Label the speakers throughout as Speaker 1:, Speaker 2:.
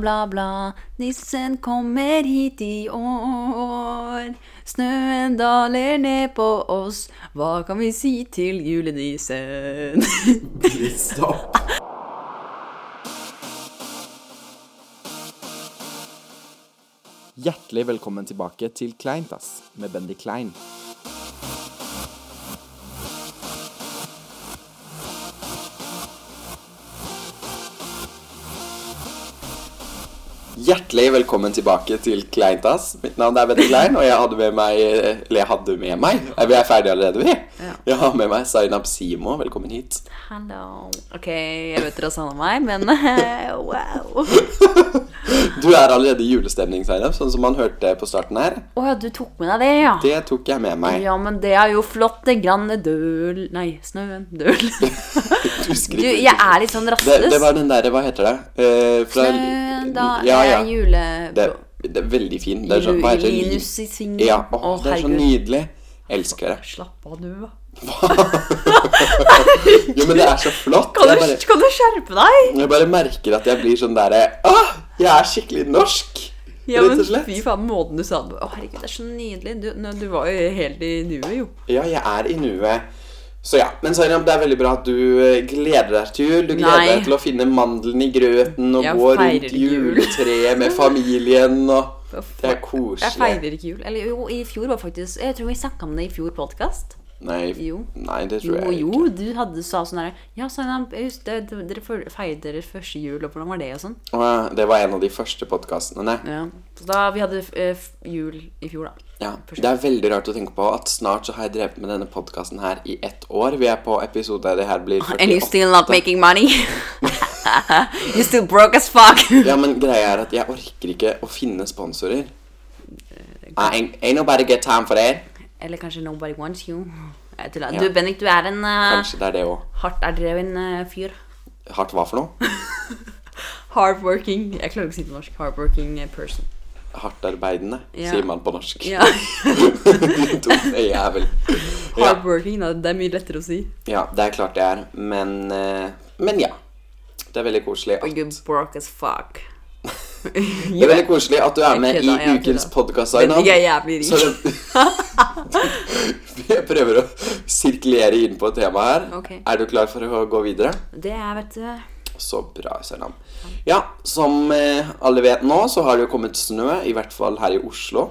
Speaker 1: bla, bla. Nissen kommer hit i år. Snøen daler ned på oss. Hva kan vi si til julenissen?
Speaker 2: Please stop. Hjertelig velkommen tilbake til Kleintass med Bendy Klein. Hjertelig velkommen tilbake til Kleintass. Mitt navn er Bendy Klein, og jeg hadde med meg Eller jeg hadde med meg. Er Vi er ferdige allerede, vi.
Speaker 1: Ja.
Speaker 2: Jeg har med meg Zainab Simo. Velkommen hit.
Speaker 1: Hello. OK, jeg vet dere har savna meg, men eh, wow. Å
Speaker 2: Du er allerede i julestemning, Zainab, sånn som man hørte på starten her.
Speaker 1: ja, du tok med deg det, ja?
Speaker 2: Det tok jeg med meg.
Speaker 1: Ja, men det er jo flott, det granne døl Nei, snøen døl.
Speaker 2: Du husker
Speaker 1: Du,
Speaker 2: ikke
Speaker 1: jeg er litt sånn
Speaker 2: Det,
Speaker 1: rastløs.
Speaker 2: det var den derre Hva heter det? Eh, fra-
Speaker 1: Snøen, da
Speaker 2: ja, ja.
Speaker 1: er jule...
Speaker 2: Det, det er veldig fin. Det er sånn, hva heter det?
Speaker 1: Linus i svingen.
Speaker 2: Ja, åh,
Speaker 1: Å,
Speaker 2: det er sånn så
Speaker 1: herregud.
Speaker 2: nydelig. Elsker det.
Speaker 1: Slapp av, du. da.
Speaker 2: Jo, men det er så flott.
Speaker 1: Kan
Speaker 2: Jeg
Speaker 1: du,
Speaker 2: bare,
Speaker 1: kan du skjerpe deg?
Speaker 2: jeg bare merker at jeg blir sånn derre Åh, jeg er skikkelig norsk!
Speaker 1: Ja,
Speaker 2: Rett
Speaker 1: men
Speaker 2: og slett.
Speaker 1: fy faen, måten du sa det på. Å, herregud, det er så nydelig. Du, nå, du var jo helt i nuet, jo.
Speaker 2: Ja, jeg er i nuet. Så ja, Men Zainab, det er veldig bra at du eh, gleder deg til jul. Du gleder
Speaker 1: Nei.
Speaker 2: deg til å finne mandelen i grøten og
Speaker 1: Jeg
Speaker 2: gå rundt
Speaker 1: feirer jul.
Speaker 2: juletreet med familien og Det er
Speaker 1: Jeg
Speaker 2: koselig.
Speaker 1: feirer ikke jul. Eller jo, i fjor var faktisk Jeg tror vi snakka om det i fjor podkast.
Speaker 2: Nei,
Speaker 1: Jo.
Speaker 2: nei, det
Speaker 1: Jo,
Speaker 2: tror jeg
Speaker 1: jo, du hadde, sa sånn derre Ja, Zainab, jeg husker det, dere feir- feirte deres første jul, og hvordan var det, og sånn.
Speaker 2: Å, ja, Det var en av de første podkastene. Nei.
Speaker 1: Ja. Så da vi hadde eh, f- jul i fjor, da.
Speaker 2: Ja, det er veldig rart å tenke på at snart så har jeg drevet med denne podkasten her i ett år. Vi er på episode det her blir
Speaker 1: And you're
Speaker 2: 48.
Speaker 1: still not making money? you're still broke as fuck.
Speaker 2: Ja, men greia er at jeg orker ikke å finne sponsorer.
Speaker 1: Eh,
Speaker 2: Ah, Ain't ain't nobody get time for that.
Speaker 1: Eller kanskje nobody wants you. Jeg tuller.
Speaker 2: Ja.
Speaker 1: Du, Bendik, du er en eh,
Speaker 2: Kanskje det er det òg.
Speaker 1: hardt erdreven eh, fyr.
Speaker 2: Hardt hva for noe?
Speaker 1: Hardworking. Jeg klarer ikke å si det på norsk. Hardworking eh, person.
Speaker 2: Hardtarbeidende,
Speaker 1: Ja.
Speaker 2: sier man på norsk.
Speaker 1: Ja.
Speaker 2: De to øya er vel ja.
Speaker 1: Hardworking, da. Det er mye lettere å si.
Speaker 2: ja, det er klart det er. Men eh, Men ja. Det er veldig koselig. at-
Speaker 1: You're broke as fuck.
Speaker 2: Det er veldig koselig at du er
Speaker 1: Jeg
Speaker 2: med
Speaker 1: kødda,
Speaker 2: i
Speaker 1: jeg
Speaker 2: ukens
Speaker 1: kødda.
Speaker 2: podkast,
Speaker 1: Bendik er jævlig
Speaker 2: Så
Speaker 1: rik.
Speaker 2: det- jeg prøver å sirkulere inn på temaet her.
Speaker 1: Ok.
Speaker 2: Er du klar for å gå videre?
Speaker 1: Det er, vet du
Speaker 2: Så bra, Sernam. Ja, som eh, alle vet nå, så har det jo kommet snø, i hvert fall her i Oslo.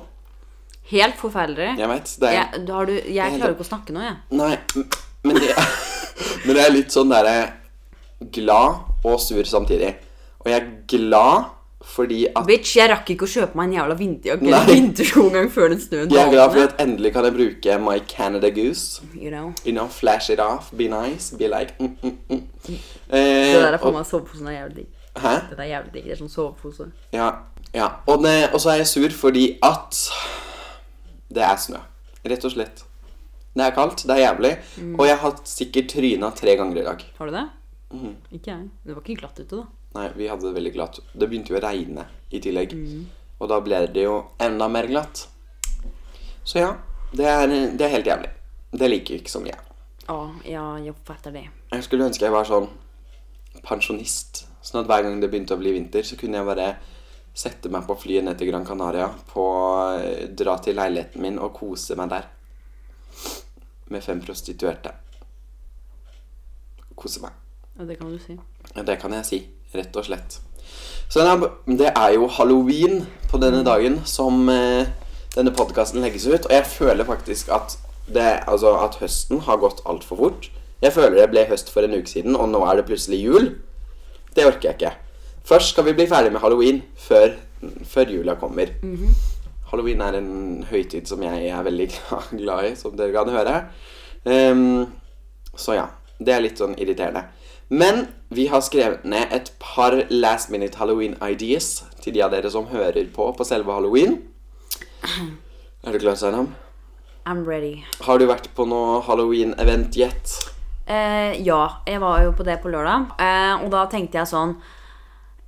Speaker 1: Helt forferdelig.
Speaker 2: Jeg vet, det er
Speaker 1: Jeg, da har du, jeg klarer ikke å snakke nå, jeg.
Speaker 2: Nei, m- men det Men jeg er litt sånn derre glad og sur samtidig. Og jeg er glad fordi at
Speaker 1: Bitch, jeg rakk ikke å kjøpe meg en jævla vinterjakke
Speaker 2: Nei.
Speaker 1: eller vintersko engang før den snøen
Speaker 2: Jeg er glad for
Speaker 1: dalte ned.
Speaker 2: at endelig kan jeg bruke My Canada Goose.
Speaker 1: You know.
Speaker 2: You know, flash it off, be nice, be like mm, mm, mm.
Speaker 1: Det der
Speaker 2: Eh,
Speaker 1: er for meg soveposen er jævlig digg.
Speaker 2: og, Hæ?
Speaker 1: Den er jævlig digg. Det er sånn sovepose.
Speaker 2: Ja. ja. Og, det, og så er jeg sur fordi at det er snø. Rett og slett. Det er kaldt, det er jævlig,
Speaker 1: Mm.
Speaker 2: og jeg har sikkert tryna tre ganger i dag.
Speaker 1: Har du det?
Speaker 2: Mhm.
Speaker 1: Ikke jeg. Det var ikke glatt ute, da.
Speaker 2: Nei, vi hadde det veldig glatt. Det begynte jo å regne i tillegg. Og da ble det jo enda mer glatt. Så ja, det er, det er helt jævlig. Det liker vi ikke så mye.
Speaker 1: Å, ja, jeg fatter det.
Speaker 2: Jeg skulle ønske jeg var sånn pensjonist. Sånn at hver gang det begynte å bli vinter, så kunne jeg bare sette meg på flyet ned til Gran Canaria, på, eh, dra til leiligheten min og kose meg der. Med fem prostituerte. Kose meg.
Speaker 1: Ja, det kan du si.
Speaker 2: Ja, Det kan jeg si, rett og slett. Så den er- det er jo halloween på denne dagen som eh, denne podkasten legges ut. Og jeg føler faktisk at, det, altså at høsten har gått altfor fort. Jeg føler det ble høst for en uke siden, og nå er det plutselig jul. Det orker jeg ikke. Først skal vi bli ferdig med halloween før, før jula kommer. Halloween er en høytid som jeg er veldig gla- glad i, som dere kan høre. Ehm, så ja. Det er litt sånn irriterende. Men vi har skrevet ned et par last minute halloween ideas til de av dere som hører på på selve halloween. Er du klar, Sanam?
Speaker 1: I'm ready.
Speaker 2: Har du vært på noe halloween-event yet?
Speaker 1: Eh, ja, jeg var jo på det på lørdag, eh, og da tenkte jeg sånn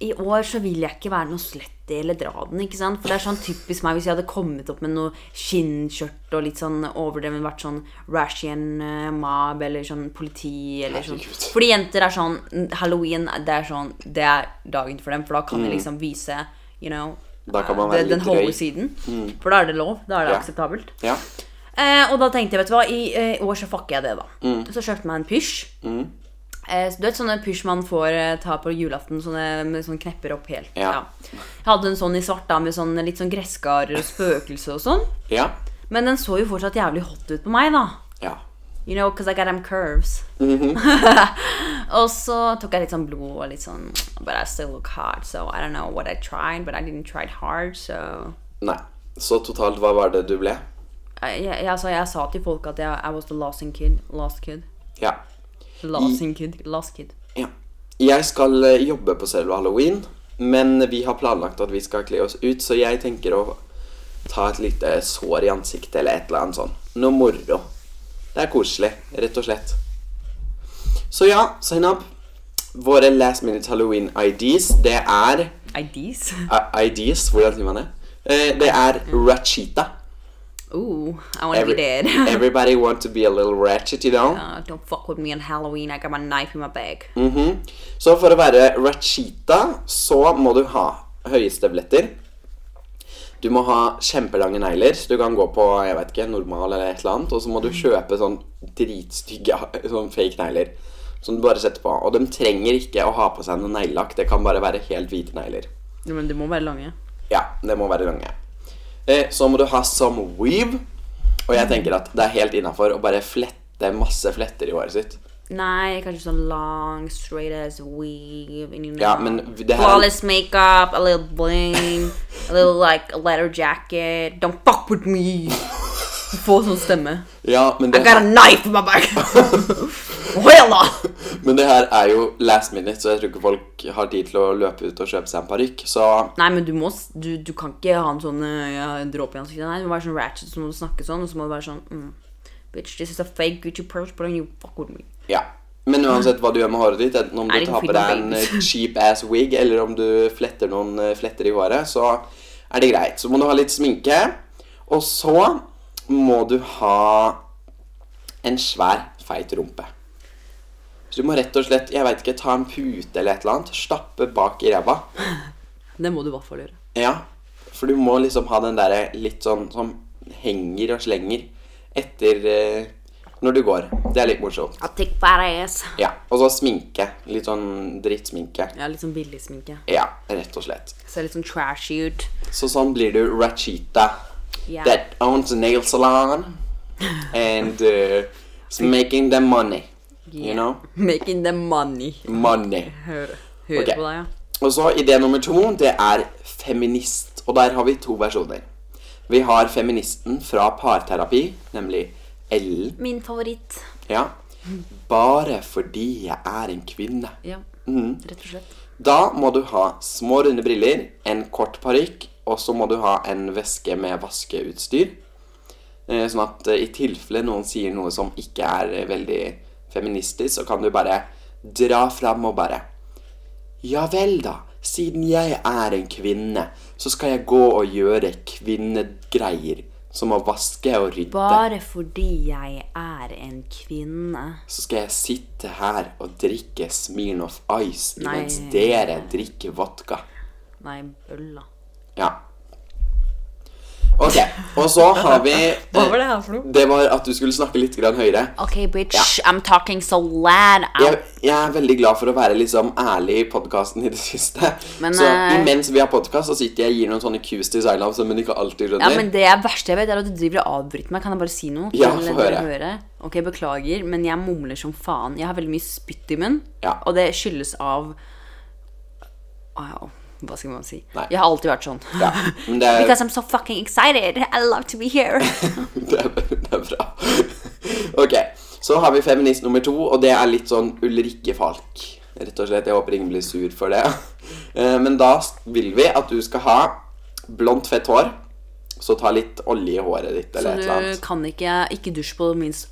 Speaker 1: i år så vil jeg ikke være noe slutty eller dra den, ikke sant? For det er sånn typisk meg hvis jeg hadde kommet opp med noe skinnskjørt og litt sånn overdreven, vært sånn Rashian eh, mob eller sånn politi eller sånn.
Speaker 2: Herregud.
Speaker 1: Fordi jenter er sånn Halloween, det er sånn Det er dagen for dem, for da kan de liksom vise, you know
Speaker 2: Mm. Da kan man
Speaker 1: eh,
Speaker 2: være
Speaker 1: den
Speaker 2: litt
Speaker 1: holde
Speaker 2: drøy. Mm.
Speaker 1: siden. For da er det lov. Da er det
Speaker 2: Ja.
Speaker 1: akseptabelt.
Speaker 2: Ja.
Speaker 1: Eh, og da tenkte jeg, vet du hva, i eh, år så fucker jeg det, da. Så kjøpte jeg meg en pysj. Eh, så du vet sånne pysj man får eh, ta på julaften, sånne med sånn knepper opp helt.
Speaker 2: Ja.
Speaker 1: Jeg hadde en sånn i svart, da, med sånn litt sånn gresskarer og spøkelse og sånn.
Speaker 2: Ja.
Speaker 1: Men den så jo fortsatt jævlig hot ut på meg, da.
Speaker 2: ja.
Speaker 1: You know, cause I got them curves. og så tok jeg litt sånn blod og litt sånn But I still look hard, so I don't know what I tried, but I didn't try hard, so
Speaker 2: Nei. Så totalt, hva var det du ble?
Speaker 1: jeg, jeg, altså, jeg sa til folk at jeg I was the losing kid. Last kid.
Speaker 2: Ja.
Speaker 1: Losing kid. Last kid.
Speaker 2: ja. Jeg skal eh, jobbe på selve halloween, men vi har planlagt at vi skal kle oss ut, så jeg tenker å ta et lite sår i ansiktet eller et eller annet sånn. Noe moro. Det er koselig, rett og slett. Så ja, Zainab. Våre last minute halloween IDs, det er eh,
Speaker 1: IDs.
Speaker 2: I- IDs, hvordan sier man det? Eh, Det er Ratchita.
Speaker 1: Ooh, I wanna be dead.
Speaker 2: everybody want to be a little ratchet, you know?
Speaker 1: Uh, don't fuck with me on Halloween. I got my knife in my bag.
Speaker 2: Mhm. Så for å være ratchita, så må du ha høye støvletter. Du må ha kjempelange negler, så du kan gå på jeg vet ikke, normal eller et eller annet. Og så må du kjøpe sånn dritstygge sånn fake negler som du bare setter på. Og de trenger ikke å ha på seg noe neglelakk, det kan bare være helt hvite negler.
Speaker 1: Men de må være lange.
Speaker 2: Ja, det må være lange. Eh, Så må du ha some weave. Og jeg tenker at det er helt innafor å bare flette masse fletter i håret sitt.
Speaker 1: Nei, kanskje sånn long, straight as weave. And you know,
Speaker 2: Ja, men det her-
Speaker 1: flawless makeup, a little bling, a little like a leather jacket. Don't fuck with me. Få sånn stemme.
Speaker 2: Ja, men
Speaker 1: I
Speaker 2: det,
Speaker 1: got a knife in my bag. Hella!
Speaker 2: men det her er jo last minute, så jeg tror ikke folk har tid til å løpe ut og kjøpe seg en parykk. Så
Speaker 1: Nei, men du må s- Du, du kan ikke ha en sånn eh, ja, en dråpe i ansiktet. Nei, du må være sånn ratchet, så må du snakke sånn, og så må du være sånn mm, Bitch, this is a fake Gucci purse, but you fuck with me.
Speaker 2: ja. Men uansett hva du gjør med håret ditt, enten om
Speaker 1: Er
Speaker 2: du
Speaker 1: det
Speaker 2: tar på
Speaker 1: freaking
Speaker 2: deg en
Speaker 1: liksom?
Speaker 2: eh, cheap ass wig, eller om du fletter noen eh, fletter i håret, så er det greit. Så må du ha litt sminke. Og så må du ha en svær, feit rumpe. Så du må rett og slett, jeg veit ikke, ta en pute eller et eller annet, stappe bak i ræva.
Speaker 1: Det må du i hvert fall gjøre.
Speaker 2: Ja, for du må liksom ha den derre litt sånn som henger og slenger etter eh, når du går. Det er litt morsomt.
Speaker 1: I'll take fat ass.
Speaker 2: Ja, Og så sminke. Litt sånn drittsminke.
Speaker 1: Ja, litt sånn billig sminke.
Speaker 2: Ja, rett og slett.
Speaker 1: Ser litt sånn trashy ut.
Speaker 2: Så sånn blir du Rachita.
Speaker 1: Ja.
Speaker 2: That owns a nail salon and uh, is making them money. You know?
Speaker 1: Making the money.
Speaker 2: Money.
Speaker 1: Hør, hør
Speaker 2: Ok.
Speaker 1: på deg, ja.
Speaker 2: Og så idé nummer to, det er feminist. Og der har vi to versjoner. Vi har feministen fra parterapi, nemlig Ellen.
Speaker 1: Min favoritt.
Speaker 2: Ja. Bare fordi jeg er en kvinne.
Speaker 1: Ja, rett og slett.
Speaker 2: Da må du ha små, runde briller, en kort parykk, og så må du ha en veske med vaskeutstyr. Eh, Sånn at eh, i tilfelle noen sier noe som ikke er eh, veldig feministisk, så kan du bare dra fram og bare Ja vel, da. Siden jeg er en kvinne, så skal jeg gå og gjøre kvinnegreier. Som å vaske og rydde.
Speaker 1: Bare fordi jeg er en kvinne.
Speaker 2: Så skal jeg sitte her og drikke Smirnoff Ice
Speaker 1: Nei.
Speaker 2: mens dere drikker vodka.
Speaker 1: Nei, bølla.
Speaker 2: Ja. Ok, og så har vi
Speaker 1: Hva var det her for noe?
Speaker 2: Det var at du skulle snakke litt grann høyere.
Speaker 1: Ok, bitch, I'm talking so loud. I'm
Speaker 2: Jeg, jeg er veldig glad for å være liksom ærlig i podkasten i det siste.
Speaker 1: Men,
Speaker 2: så
Speaker 1: eh,
Speaker 2: imens vi har podkast, så sitter jeg og gir noen sånne cues til Zailam som hun ikke alltid skjønner.
Speaker 1: Ja, men det er verste jeg vet, er at du driver og avbryter meg. Kan jeg bare si noe?
Speaker 2: Ja,
Speaker 1: Kan
Speaker 2: få
Speaker 1: dere
Speaker 2: høre.
Speaker 1: Ok, beklager, men jeg mumler som faen. Jeg har veldig mye spytt i munnen,
Speaker 2: Ja.
Speaker 1: og det skyldes av Wow, hva skal man si?
Speaker 2: Nei.
Speaker 1: Jeg har alltid vært sånn.
Speaker 2: Ja, men det, er,
Speaker 1: Because I'm so fucking excited. I love to be here.
Speaker 2: det, er, det er bra. Ok, så har vi feminist nummer to, og det er litt sånn Ulrikke Falk. Rett og slett. Jeg håper ingen blir sur for det. Eh, Men da vil vi at du skal ha blondt, fett hår. Så ta litt olje i håret ditt
Speaker 1: Så
Speaker 2: eller et eller
Speaker 1: du
Speaker 2: annet.
Speaker 1: kan ikke ikke dusje på minst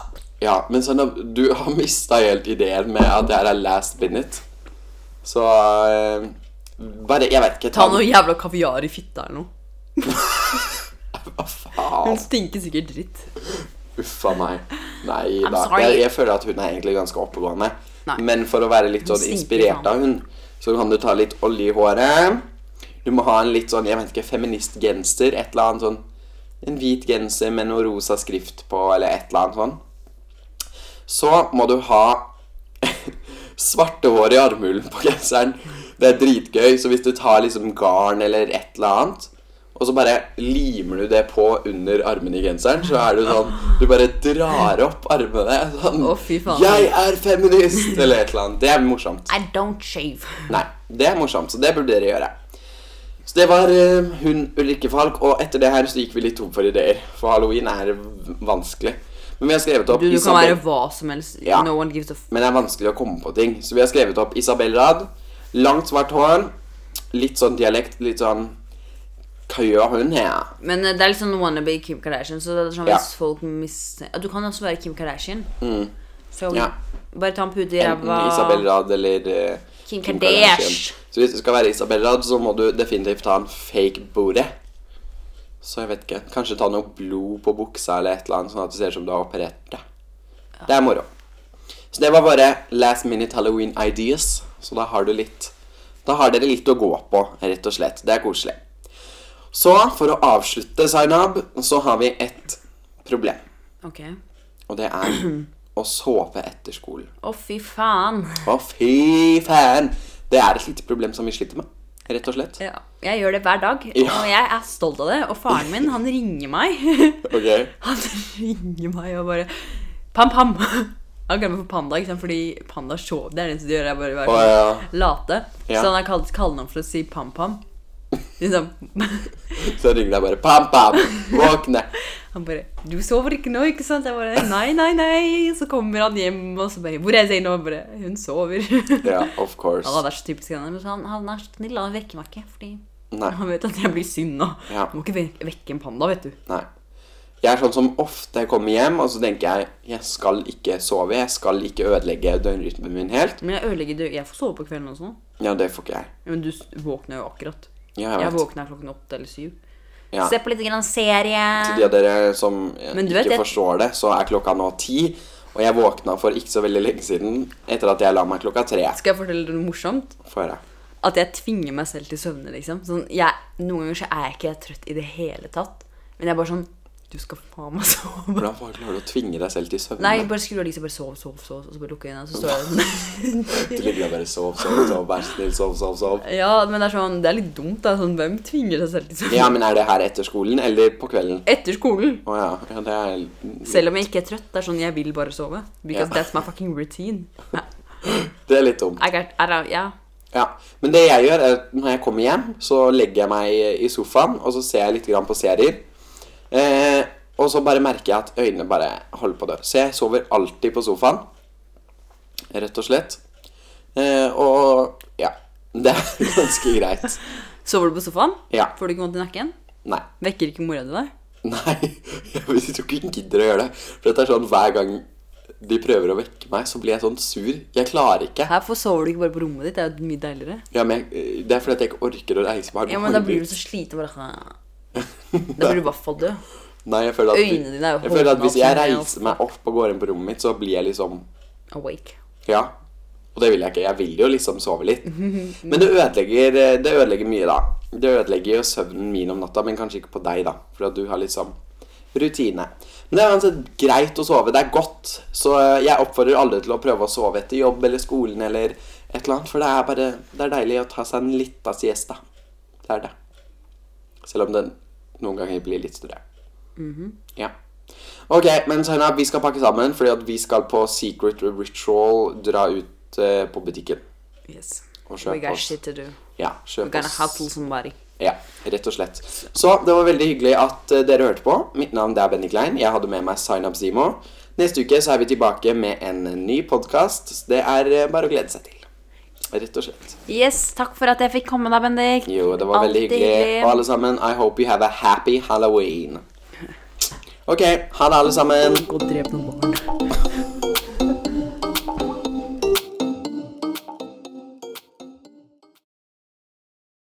Speaker 2: Ja, men sånn, at du har mista helt ideen med at det her er last minute. Så eh, bare Jeg vet ikke.
Speaker 1: Ta noe jævla kaviar i fitta eller noe.
Speaker 2: Hva faen?
Speaker 1: Hun stinker sikkert dritt.
Speaker 2: Uff a meg. Nei
Speaker 1: I'm
Speaker 2: da.
Speaker 1: sorry.
Speaker 2: Jeg, jeg føler at hun er egentlig ganske oppegående.
Speaker 1: Nei.
Speaker 2: Men for å være litt sånn
Speaker 1: stinker
Speaker 2: inspirert
Speaker 1: faen.
Speaker 2: av hun, så kan du ta litt olje i håret. Du må ha en litt sånn, jeg vet ikke, feministgenser. Et eller annet sånn En hvit genser med noe rosa skrift på, eller et eller annet sånn. Så må du ha svarte hår i armhulen på genseren. Det er dritgøy. Så hvis du tar liksom garn eller et eller annet, og så bare limer du det på under armene i genseren, så er du sånn Du bare drar opp armene sånn
Speaker 1: Å, fy faen.
Speaker 2: 'Jeg er feminist!' eller et eller annet. Det er morsomt.
Speaker 1: I don't shave.
Speaker 2: Nei, det er morsomt, så det burde dere gjøre. Så det var eh, hun Ulrikke Falk, og etter det her så gikk vi litt tom for ideer. For halloween er v- vanskelig. Men vi har skrevet opp
Speaker 1: Du, du kan
Speaker 2: Isabel-
Speaker 1: være hva som helst.
Speaker 2: Ja.
Speaker 1: No one gives a f...
Speaker 2: men det er vanskelig å komme på ting. Så vi har skrevet opp Isabel Rad. Langt, svart hår. Litt sånn dialekt. Litt sånn Hva gjør hun her?
Speaker 1: Men eh, det er litt sånn wannabe Kim Kardashian, så det er sånn
Speaker 2: Ja. Mm.
Speaker 1: hvis folk mister Ja, Du kan også være Kim Kardashian. Så
Speaker 2: Ja.
Speaker 1: bare ta en pute i
Speaker 2: Enten
Speaker 1: ræva.
Speaker 2: Isabel Rad eller eh,
Speaker 1: Kim Kardashian.
Speaker 2: Så hvis du skal være Isabel Rad, så må du definitivt ta en fake booty. Så jeg vet ikke. Kanskje ta noe blod på buksa eller et eller annet, sånn at det ser ut som du har operert deg. Det er moro. Så det var våre last minute Halloween ideas. Så da har du litt Da har dere litt å gå på, rett og slett. Det er koselig. Så for å avslutte, Zainab, så har vi et problem.
Speaker 1: Ok.
Speaker 2: Og det er å sove etter skolen.
Speaker 1: Å, fy faen.
Speaker 2: Å, fy faen! Det er et lite problem som vi sliter med, rett og slett.
Speaker 1: Ja. Jeg gjør det hver dag,
Speaker 2: Ja.
Speaker 1: og jeg er stolt av det. Og faren min, han ringer meg.
Speaker 2: Ok.
Speaker 1: Han ringer meg og bare Pam, pam. Han kaller meg for panda, ikke sant? fordi panda show, det er det eneste de gjør. Jeg bare,
Speaker 2: Å,
Speaker 1: bare
Speaker 2: ja.
Speaker 1: late.
Speaker 2: Ja.
Speaker 1: Så han har kalt kallenavn for å si pam-pam. Liksom.
Speaker 2: Så ringer jeg bare Pam, pam! Våkne!
Speaker 1: Han bare 'Du sover ikke nå, ikke sant?' Jeg bare 'Nei, nei, nei'. Så kommer han hjem og så bare 'Hvor er Zainab?' Jeg bare 'Hun sover'.
Speaker 2: Ja, of course.
Speaker 1: Han er så typisk henne, men han, han er snill. Han vekker meg ikke, fordi
Speaker 2: Nei.
Speaker 1: han vet at jeg blir synd nå.
Speaker 2: Ja.
Speaker 1: Du må ikke vek- vekke en panda, vet du.
Speaker 2: Nei. Jeg er sånn som ofte kommer hjem, og så tenker jeg jeg skal ikke sove. Jeg skal ikke ødelegge døgnrytmen min helt.
Speaker 1: Men jeg ødelegger dø- Jeg får sove på kvelden også nå.
Speaker 2: Ja, det får ikke jeg.
Speaker 1: Ja, Men du s- våkner jo akkurat.
Speaker 2: Ja,
Speaker 1: Jeg
Speaker 2: jeg vet.
Speaker 1: våkner klokken åtte eller syv.
Speaker 2: Ja.
Speaker 1: Se på litt grann serie.
Speaker 2: De av dere som eh,
Speaker 1: Men du vet,
Speaker 2: ikke
Speaker 1: jeg-
Speaker 2: forstår det, så er klokka nå ti. Og jeg våkna for ikke så veldig lenge siden etter at jeg la meg klokka tre.
Speaker 1: Skal jeg fortelle deg noe morsomt?
Speaker 2: Få høre.
Speaker 1: At jeg tvinger meg selv til søvne, liksom. Sånn, jeg, noen ganger så er jeg ikke trøtt i det hele tatt. Men jeg er bare sånn Du skal faen meg sove.
Speaker 2: Hvordan faen klarer du å tvinge deg selv til søvne?
Speaker 1: Nei, bare skru av lyset, bare sov, sov, sov, og så bare lukke øynene, og så står jeg sånn.
Speaker 2: Du ligger der bare sov, sov, sov, vær så snill, sov, sov, sov.
Speaker 1: Ja, men det er sånn, det er litt dumt, da. Sånn, hvem tvinger seg selv til sånn?
Speaker 2: Ja, men er det her etter skolen eller på kvelden?
Speaker 1: Etter skolen.
Speaker 2: Å ja. ja, det er
Speaker 1: Selv om jeg ikke er trøtt, det er sånn, jeg vil bare sove. Because
Speaker 2: Ja.
Speaker 1: that's my fucking routine. Ja,
Speaker 2: Det er litt dumt.
Speaker 1: I got, I don't, ja.
Speaker 2: Ja. Men det jeg gjør, er at når jeg kommer hjem, så legger jeg meg i sofaen, og så ser jeg litt grann på serier. Eh, og så bare merker jeg at øynene bare holder på å dø. Så jeg sover alltid på sofaen. Rett og slett. Eh, og ja. Det er ganske greit.
Speaker 1: Sover du på sofaen?
Speaker 2: Ja.
Speaker 1: Får du ikke vondt i nakken?
Speaker 2: Nei.
Speaker 1: Vekker ikke mora di deg?
Speaker 2: Nei, jeg tror ikke hun gidder å gjøre det. For dette er sånn hver gang de prøver å vekke meg, så blir jeg sånn sur. Jeg klarer ikke.
Speaker 1: Herfor sover du ikke bare på rommet ditt, det er jo mye deiligere.
Speaker 2: Ja, men jeg, eh, det er fordi at jeg ikke orker å reise meg.
Speaker 1: Ja, men da blir du så sliten, bare sånn, Da blir du i hvert fall død.
Speaker 2: Nei, jeg føler at,
Speaker 1: Øynene dine er jo
Speaker 2: jeg føler at hvis
Speaker 1: holdende
Speaker 2: jeg
Speaker 1: opp, men
Speaker 2: reiser meg opp og går inn på rommet mitt, så blir jeg liksom
Speaker 1: Awake.
Speaker 2: Ja. Og det vil jeg ikke. Jeg vil jo liksom sove litt. Men det ødelegger, eh, det ødelegger mye, da. Det ødelegger jo søvnen min om natta, men kanskje ikke på deg, da. For at du har liksom rutine. Men det er uansett greit å sove. Det er godt. Så eh, jeg oppfordrer alle til å prøve å sove etter jobb eller skolen eller et eller annet. For det er bare Det er deilig å ta seg en lita siesta. Det er det. Selv om den noen ganger blir litt større. Ja. Ok, men Zainab, vi skal pakke sammen, fordi at vi skal på Secret Ritual dra ut eh, på butikken.
Speaker 1: Yes.
Speaker 2: Og
Speaker 1: We
Speaker 2: kjøpe
Speaker 1: got
Speaker 2: oss.
Speaker 1: shit to do.
Speaker 2: Ja,
Speaker 1: We
Speaker 2: kjøpe
Speaker 1: gotta hustle
Speaker 2: oss.
Speaker 1: somebody.
Speaker 2: Ja, rett og slett. Så det var veldig hyggelig at eh, dere hørte på. Mitt navn det er Benny Klein. Jeg hadde med meg Zainab Simo. Neste uke så er vi tilbake med en ny podkast. Det er eh, bare å glede seg til. Rett og slett.
Speaker 1: Yes, takk for at jeg fikk komme da, Bendik.
Speaker 2: Jo, det var veldig
Speaker 1: Alltid
Speaker 2: hyggelig. Og alle sammen, I hope you have a happy halloween. Ok, ha det, alle sammen.
Speaker 1: Gå og drep noen barn.